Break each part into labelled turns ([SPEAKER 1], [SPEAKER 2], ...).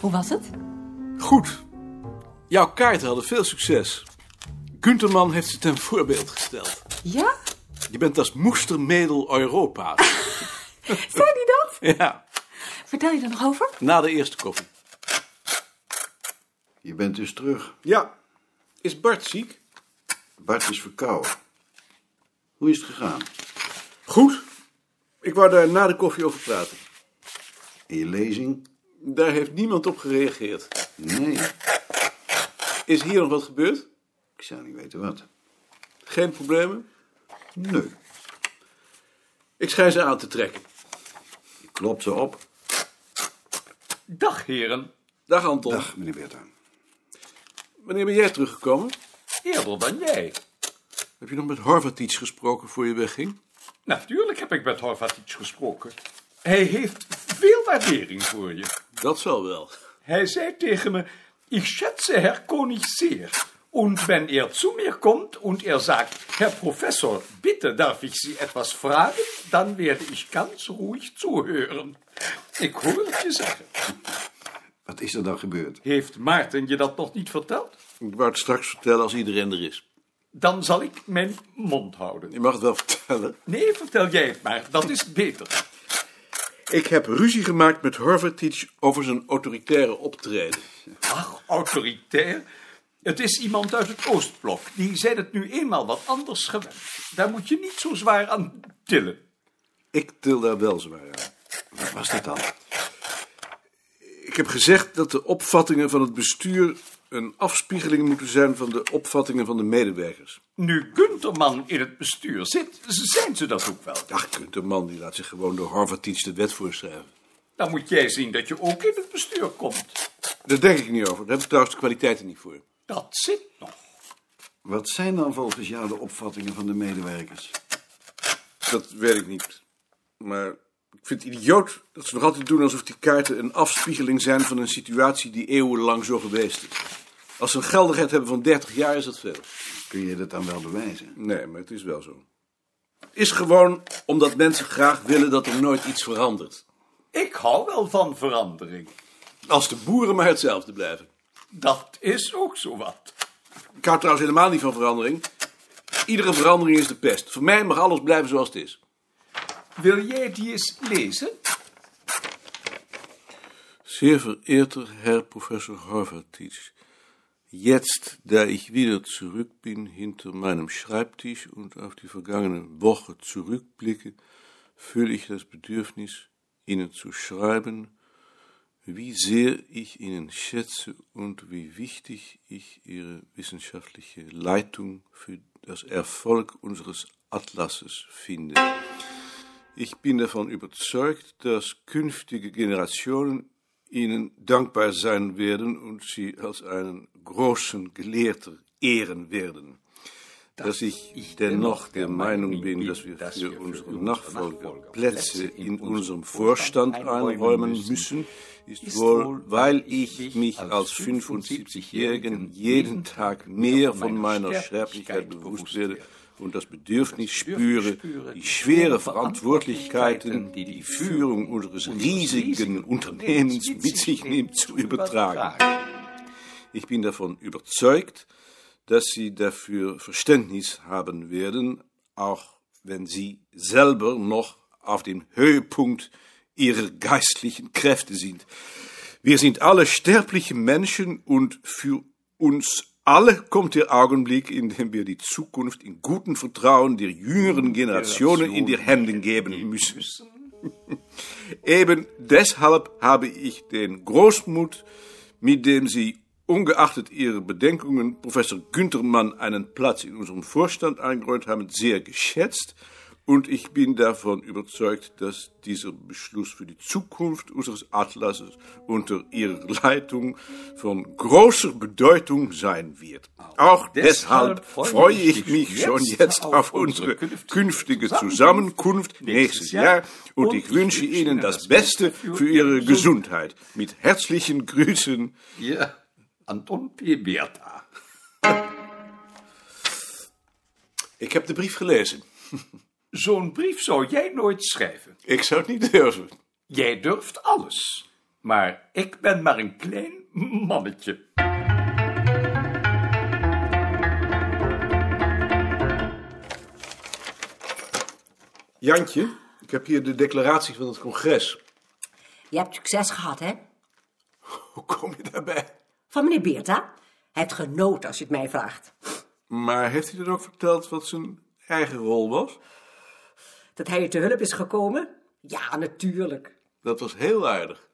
[SPEAKER 1] was het?
[SPEAKER 2] Goed. Jouw kaarten hadden veel succes. Gunterman heeft ze ten voorbeeld gesteld.
[SPEAKER 1] Ja?
[SPEAKER 2] Je bent als moestermedel Europa.
[SPEAKER 1] Zei hij dat?
[SPEAKER 2] ja,
[SPEAKER 1] Vertel je er nog over?
[SPEAKER 2] na de eerste koffie.
[SPEAKER 3] Je bent dus terug.
[SPEAKER 2] Ja. Is Bart ziek?
[SPEAKER 3] Bart is verkouden. Hoe is het gegaan?
[SPEAKER 2] Goed. Ik wou daar na de koffie over praten.
[SPEAKER 3] In je lezing?
[SPEAKER 2] Daar heeft niemand op gereageerd.
[SPEAKER 3] Nee,
[SPEAKER 2] Is hier nog wat gebeurd?
[SPEAKER 3] ik zou niet weten wat.
[SPEAKER 2] Geen problemen?
[SPEAKER 3] Nee,
[SPEAKER 2] Ik schijn ze aan te trekken.
[SPEAKER 3] je klopt ze op.
[SPEAKER 4] Dag, heren.
[SPEAKER 2] Dag Anton.
[SPEAKER 3] Dag, meneer Bertha.
[SPEAKER 2] Wanneer ben jij teruggekomen?
[SPEAKER 4] Eerder dan jij.
[SPEAKER 2] Heb je nog met Horvath gesproken voor je wegging?
[SPEAKER 4] Natuurlijk heb ik met Horvatic gesproken. Hij heeft veel waardering voor je.
[SPEAKER 2] Dat zal wel.
[SPEAKER 4] Hij zei tegen me, ich schätze Herr König sehr. Und wenn er zu mir kommt und er sagt, Herr Professor, bitte darf ich Sie etwas fragen, dann werde ich ganz ruhig zuhören. Ik hoor het je zeggen.
[SPEAKER 3] Wat is er dan gebeurd?
[SPEAKER 4] Heeft Maarten je dat nog niet verteld?
[SPEAKER 2] Ik wou het straks vertellen als iedereen er is.
[SPEAKER 4] Dan zal ik mijn mond houden.
[SPEAKER 2] Je mag het wel vertellen.
[SPEAKER 4] Nee, vertel jij het maar, dat is beter.
[SPEAKER 2] Ik heb ruzie gemaakt met Horvath over zijn autoritaire optreden.
[SPEAKER 4] Ach, autoritair. Het is iemand uit het Oostblok. Die zijn het nu eenmaal wat anders gewend. Daar moet je niet zo zwaar aan tillen.
[SPEAKER 2] Ik til daar wel zwaar aan.
[SPEAKER 3] Wat was dat dan?
[SPEAKER 2] Ik heb gezegd dat de opvattingen van het bestuur een afspiegeling moeten zijn van de opvattingen van de medewerkers.
[SPEAKER 4] Nu Gunterman in het bestuur zit, z- zijn ze dat ook wel.
[SPEAKER 2] Ach, kunt de man die laat zich gewoon door Horvath de wet voorschrijven.
[SPEAKER 4] Dan moet jij zien dat je ook in het bestuur komt.
[SPEAKER 2] Daar denk ik niet over. Daar heb ik trouwens de kwaliteiten niet voor.
[SPEAKER 4] Dat zit nog.
[SPEAKER 3] Wat zijn dan volgens jou de opvattingen van de medewerkers?
[SPEAKER 2] Dat weet ik niet. Maar ik vind het idioot dat ze nog altijd doen alsof die kaarten een afspiegeling zijn van een situatie die eeuwenlang zo geweest is. Als ze een geldigheid hebben van 30 jaar is dat veel.
[SPEAKER 3] Kun je dat dan wel bewijzen?
[SPEAKER 2] Nee, maar het is wel zo. Is gewoon omdat mensen graag willen dat er nooit iets verandert.
[SPEAKER 4] Ik hou wel van verandering.
[SPEAKER 2] Als de boeren maar hetzelfde blijven.
[SPEAKER 4] Dat is ook zo wat.
[SPEAKER 2] Ik hou trouwens helemaal niet van verandering. Iedere verandering is de pest. Voor mij mag alles blijven zoals het is.
[SPEAKER 4] Wil jij die eens lezen?
[SPEAKER 2] Sehr verehrter Herr Professor Horvatitsch, jetzt, da ich wieder zurück bin hinter meinem Schreibtisch und auf die vergangene Woche zurückblicke, fühle ich das Bedürfnis, Ihnen zu schreiben, wie sehr ich Ihnen schätze und wie wichtig ich Ihre wissenschaftliche Leitung für das Erfolg unseres Atlasses finde. Ich bin davon überzeugt, dass künftige Generationen Ihnen dankbar sein werden und Sie als einen großen Gelehrter ehren werden. Dass ich dennoch der Meinung bin, dass wir für unsere Nachfolger Plätze in unserem Vorstand einräumen müssen, ist wohl, weil ich mich als 75-Jährigen jeden Tag mehr von meiner Sterblichkeit bewusst werde und das Bedürfnis spüre, die schwere Verantwortlichkeiten, die die Führung unseres riesigen Unternehmens mit sich nimmt, zu übertragen. Ich bin davon überzeugt, dass Sie dafür Verständnis haben werden, auch wenn Sie selber noch auf dem Höhepunkt Ihrer geistlichen Kräfte sind. Wir sind alle sterbliche Menschen und für uns alle kommt der Augenblick, in dem wir die Zukunft in gutem Vertrauen der jüngeren Generationen in die Hände geben müssen. Eben deshalb habe ich den Großmut, mit dem Sie ungeachtet Ihrer Bedenkungen Professor Günthermann einen Platz in unserem Vorstand eingeräumt haben, sehr geschätzt. Und ich bin davon überzeugt, dass dieser Beschluss für die Zukunft unseres Atlases unter Ihrer Leitung von großer Bedeutung sein wird. Auch deshalb freue ich mich schon jetzt auf unsere künftige Zusammenkunft nächstes Jahr und ich wünsche Ihnen das Beste für Ihre Gesundheit. Mit herzlichen Grüßen.
[SPEAKER 4] Ja, Anton P. Beerta.
[SPEAKER 2] Ik heb de brief gelezen.
[SPEAKER 4] Zo'n brief zou jij nooit schrijven.
[SPEAKER 2] Ik zou het niet durven.
[SPEAKER 4] Jij durft alles. Maar ik ben maar een klein mannetje.
[SPEAKER 2] Jantje, ik heb hier de declaratie van het congres.
[SPEAKER 5] Je hebt succes gehad, hè?
[SPEAKER 2] Hoe kom je daarbij?
[SPEAKER 5] Van meneer Beerta. Hij heeft genoten, als je het mij vraagt.
[SPEAKER 2] Maar heeft hij dan ook verteld wat zijn eigen rol was?
[SPEAKER 5] Dat hij je te hulp is gekomen? Ja, natuurlijk.
[SPEAKER 2] Dat was heel aardig.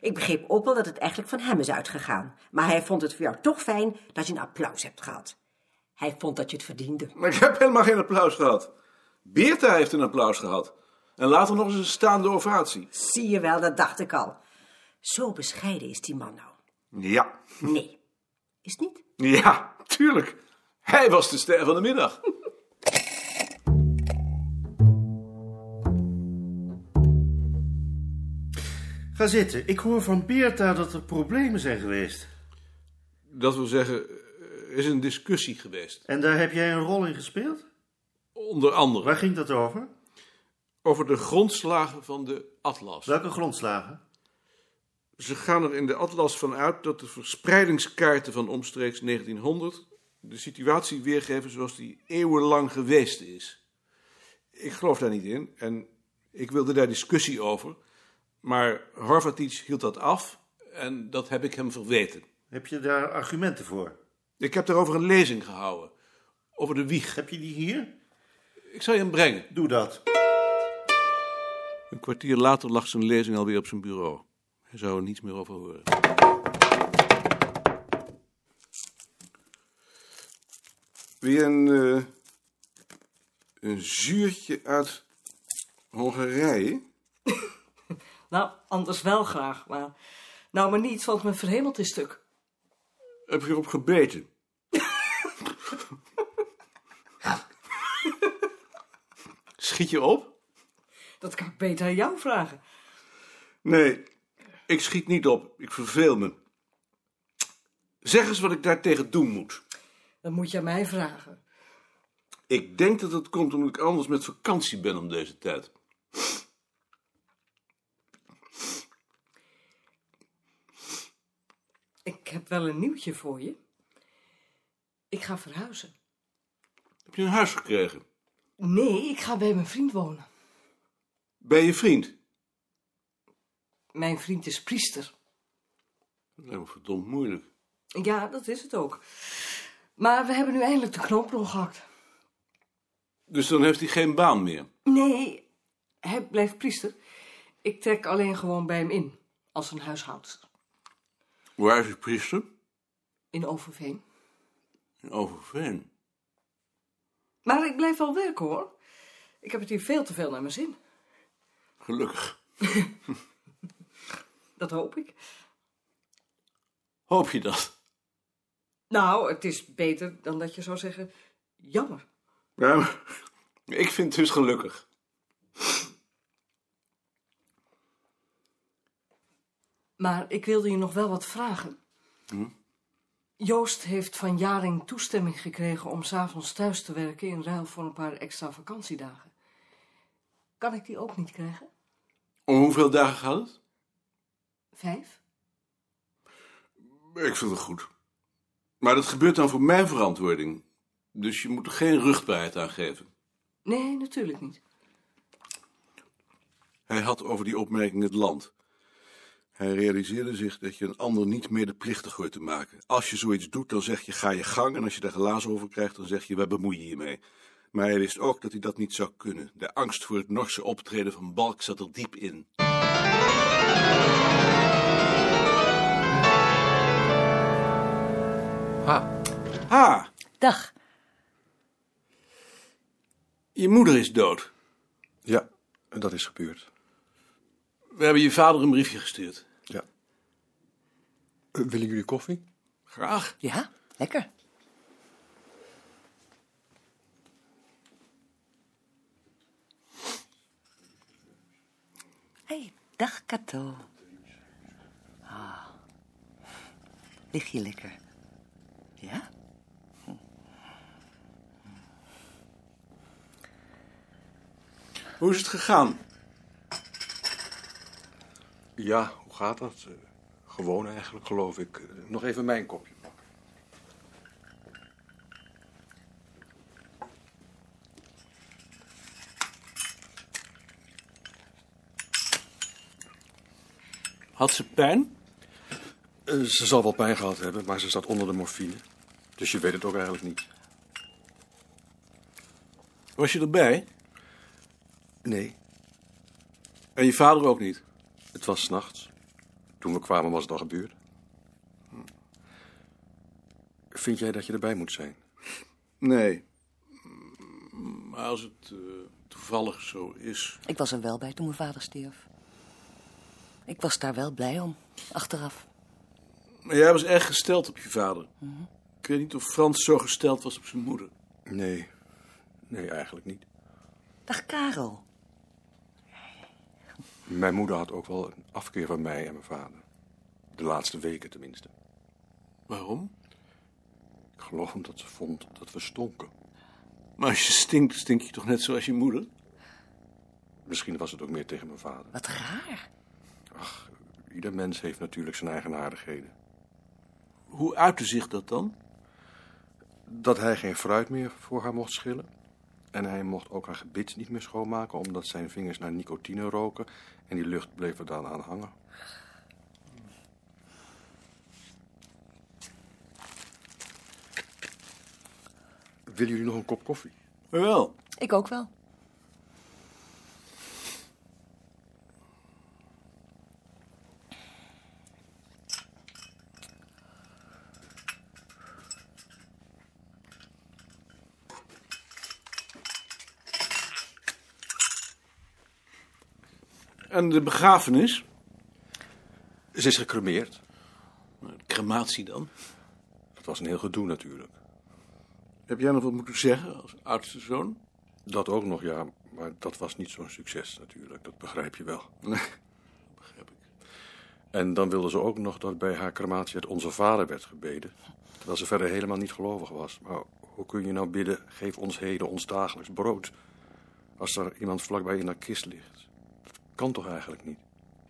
[SPEAKER 5] Ik begreep ook wel dat het eigenlijk van hem is uitgegaan. Maar hij vond het voor jou toch fijn dat je een applaus hebt gehad. Hij vond dat je het verdiende.
[SPEAKER 2] Maar ik heb helemaal geen applaus gehad. Beerta heeft een applaus gehad. En later nog eens een staande ovatie.
[SPEAKER 5] Zie je wel, dat dacht ik al. Zo bescheiden is die man nou.
[SPEAKER 2] Ja.
[SPEAKER 5] Nee. Is het niet?
[SPEAKER 2] Ja, tuurlijk. Hij was de ster van de middag.
[SPEAKER 6] Ga zitten. Ik hoor van Beerta dat er problemen zijn geweest.
[SPEAKER 2] Dat wil zeggen, er is een discussie geweest.
[SPEAKER 6] En daar heb jij een rol in gespeeld?
[SPEAKER 2] Onder andere
[SPEAKER 6] Waar ging dat over?
[SPEAKER 2] over de grondslagen van de atlas.
[SPEAKER 6] Welke grondslagen?
[SPEAKER 2] Ze gaan er in de atlas van uit dat de verspreidingskaarten van omstreeks 1900 de situatie weergeven zoals die eeuwenlang geweest is. Ik geloof daar niet in en ik wilde daar discussie over. Maar Horvatic hield dat af en dat heb ik hem verweten.
[SPEAKER 6] Heb je daar argumenten voor?
[SPEAKER 2] Ik heb daarover een lezing gehouden. Over de wieg.
[SPEAKER 6] Heb je die hier?
[SPEAKER 2] Ik zal je hem brengen.
[SPEAKER 6] Doe dat.
[SPEAKER 2] Een kwartier later lag zijn lezing alweer op zijn bureau. Hij zou er niets meer over horen. Weer een, eh, een zuurtje uit Hongarije?
[SPEAKER 7] Nou, anders wel graag, maar... Nou, maar niet, want mijn verhemeld is stuk.
[SPEAKER 2] Heb je erop gebeten? Schiet je op?
[SPEAKER 7] Dat kan ik beter aan jou vragen.
[SPEAKER 2] Nee, ik schiet niet op. Ik verveel me. Zeg eens wat ik daartegen doen moet.
[SPEAKER 7] Dat moet je aan mij vragen.
[SPEAKER 2] Ik denk dat het komt omdat ik anders met vakantie ben om deze tijd.
[SPEAKER 7] Ik heb wel een nieuwtje voor je. Ik ga verhuizen.
[SPEAKER 2] Heb je een huis gekregen?
[SPEAKER 7] Nee, ik ga bij mijn vriend wonen.
[SPEAKER 2] Bij je vriend?
[SPEAKER 7] Mijn vriend is priester.
[SPEAKER 2] Dat lijkt me verdomd moeilijk.
[SPEAKER 7] Ja, dat is het ook. Maar we hebben nu eindelijk de knoop doorgehakt.
[SPEAKER 2] Dus dan heeft hij geen baan meer.
[SPEAKER 7] Nee, hij blijft priester. Ik trek alleen gewoon bij hem in. Als een huishoudster.
[SPEAKER 2] Waar is hij priester?
[SPEAKER 7] In Overveen.
[SPEAKER 2] In Overveen.
[SPEAKER 7] Maar ik blijf wel werken, hoor. Ik heb het hier veel te veel naar mijn zin.
[SPEAKER 2] Gelukkig.
[SPEAKER 7] Dat hoop ik.
[SPEAKER 2] Hoop je dat?
[SPEAKER 7] Nou, het is beter dan dat je zou zeggen: jammer.
[SPEAKER 2] Ja, maar ik vind het dus gelukkig.
[SPEAKER 7] Maar ik wilde je nog wel wat vragen. Joost heeft van Jaring toestemming gekregen om s'avonds thuis te werken in ruil voor een paar extra vakantiedagen. Kan ik die ook niet krijgen?
[SPEAKER 2] Om hoeveel dagen gaat het?
[SPEAKER 7] Vijf?
[SPEAKER 2] Ik vind het goed. Maar dat gebeurt dan voor mijn verantwoording. Dus je moet er geen rugbaarheid aan geven.
[SPEAKER 7] Nee, natuurlijk niet.
[SPEAKER 2] Hij had over die opmerking het land. Hij realiseerde zich dat je een ander niet medeplichtig hoort te maken. Als je zoiets doet, dan zeg je ga je gang en als je daar glazen over krijgt, dan zeg je wij bemoeien je mee. Maar hij wist ook dat hij dat niet zou kunnen. De angst voor het Norse optreden van Balk zat er diep in. Ha. Ha,
[SPEAKER 5] Dag.
[SPEAKER 2] je moeder is dood.
[SPEAKER 8] Ja, dat is gebeurd.
[SPEAKER 2] We hebben je vader een briefje gestuurd.
[SPEAKER 8] Ja. Eh, willen jullie koffie?
[SPEAKER 2] Graag.
[SPEAKER 5] Ja, lekker. hey, dag Kato. Ah. Lig je lekker? Ja? Hm.
[SPEAKER 2] Hoe is het gegaan?
[SPEAKER 8] Ja,
[SPEAKER 2] Hoe gaat dat? Eh, Gewoon eigenlijk, geloof ik. Eh, Nog even mijn kopje pakken.
[SPEAKER 9] Had ze pijn?
[SPEAKER 2] Eh, Ze zal wel pijn gehad hebben, maar ze staat onder de morfine. Dus je weet het ook eigenlijk niet.
[SPEAKER 10] Was je erbij?
[SPEAKER 2] Nee,
[SPEAKER 10] En je vader ook niet?
[SPEAKER 2] het was 's nachts. Toen we kwamen was het al gebeurd. Hm. Vind jij dat je erbij moet zijn?
[SPEAKER 10] Nee. Maar als het eh, toevallig zo is.
[SPEAKER 5] Ik was er wel bij toen mijn vader stierf. Ik was daar wel blij om, achteraf.
[SPEAKER 10] Maar jij was erg gesteld op je vader. Ik weet niet of Frans zo gesteld was op zijn moeder.
[SPEAKER 2] Nee, nee eigenlijk niet.
[SPEAKER 5] Dag Karel.
[SPEAKER 2] Mijn moeder had ook wel een afkeer van mij en mijn vader. De laatste weken tenminste.
[SPEAKER 10] Waarom?
[SPEAKER 2] Ik geloof omdat ze vond dat we stonken.
[SPEAKER 10] Maar als je stinkt, stink je toch net zoals je moeder?
[SPEAKER 2] Misschien was het ook meer tegen mijn vader.
[SPEAKER 5] Wat raar.
[SPEAKER 2] Ieder mens heeft natuurlijk zijn eigen aardigheden.
[SPEAKER 10] Hoe uitte zich dat dan?
[SPEAKER 2] Dat hij geen fruit meer voor haar mocht schillen. En hij mocht ook haar gebit niet meer schoonmaken, omdat zijn vingers naar nicotine roken. En die lucht bleef er dan aan hangen. Willen jullie nog een kop koffie?
[SPEAKER 10] Jawel.
[SPEAKER 5] Ik ook wel.
[SPEAKER 10] En de begrafenis?
[SPEAKER 2] Ze is gecremeerd.
[SPEAKER 10] Crematie dan?
[SPEAKER 2] Dat was een heel gedoe natuurlijk.
[SPEAKER 10] Heb jij nog wat moeten zeggen als oudste zoon?
[SPEAKER 2] Dat ook nog, ja. Maar dat was niet zo'n succes natuurlijk. Dat begrijp je wel.
[SPEAKER 10] Begrijp ik.
[SPEAKER 2] En dan wilde ze ook nog dat bij haar crematie het Onze Vader werd gebeden. Terwijl ze verder helemaal niet gelovig was. Maar hoe kun je nou bidden, geef ons heden ons dagelijks brood... als er iemand vlakbij in haar kist ligt? Dat kan toch eigenlijk niet?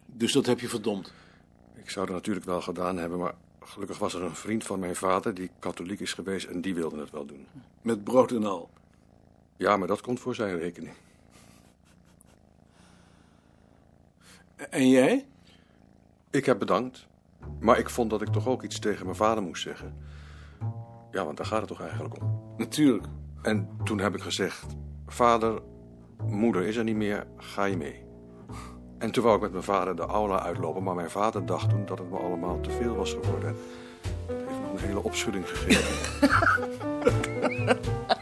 [SPEAKER 10] Dus dat heb je verdomd.
[SPEAKER 2] Ik zou dat natuurlijk wel gedaan hebben, maar gelukkig was er een vriend van mijn vader... die katholiek is geweest en die wilde het wel doen.
[SPEAKER 10] Met brood en al.
[SPEAKER 2] Ja, maar dat komt voor zijn rekening.
[SPEAKER 10] En jij?
[SPEAKER 2] Ik heb bedankt, maar ik vond dat ik toch ook iets tegen mijn vader moest zeggen. Ja, want daar gaat het toch eigenlijk om.
[SPEAKER 10] Natuurlijk.
[SPEAKER 2] En toen heb ik gezegd: Vader, moeder is er niet meer, ga je mee. En toen wou ik met mijn vader de aula uitlopen, maar mijn vader dacht toen dat het me allemaal te veel was geworden. Dat heeft me een hele opschudding gegeven.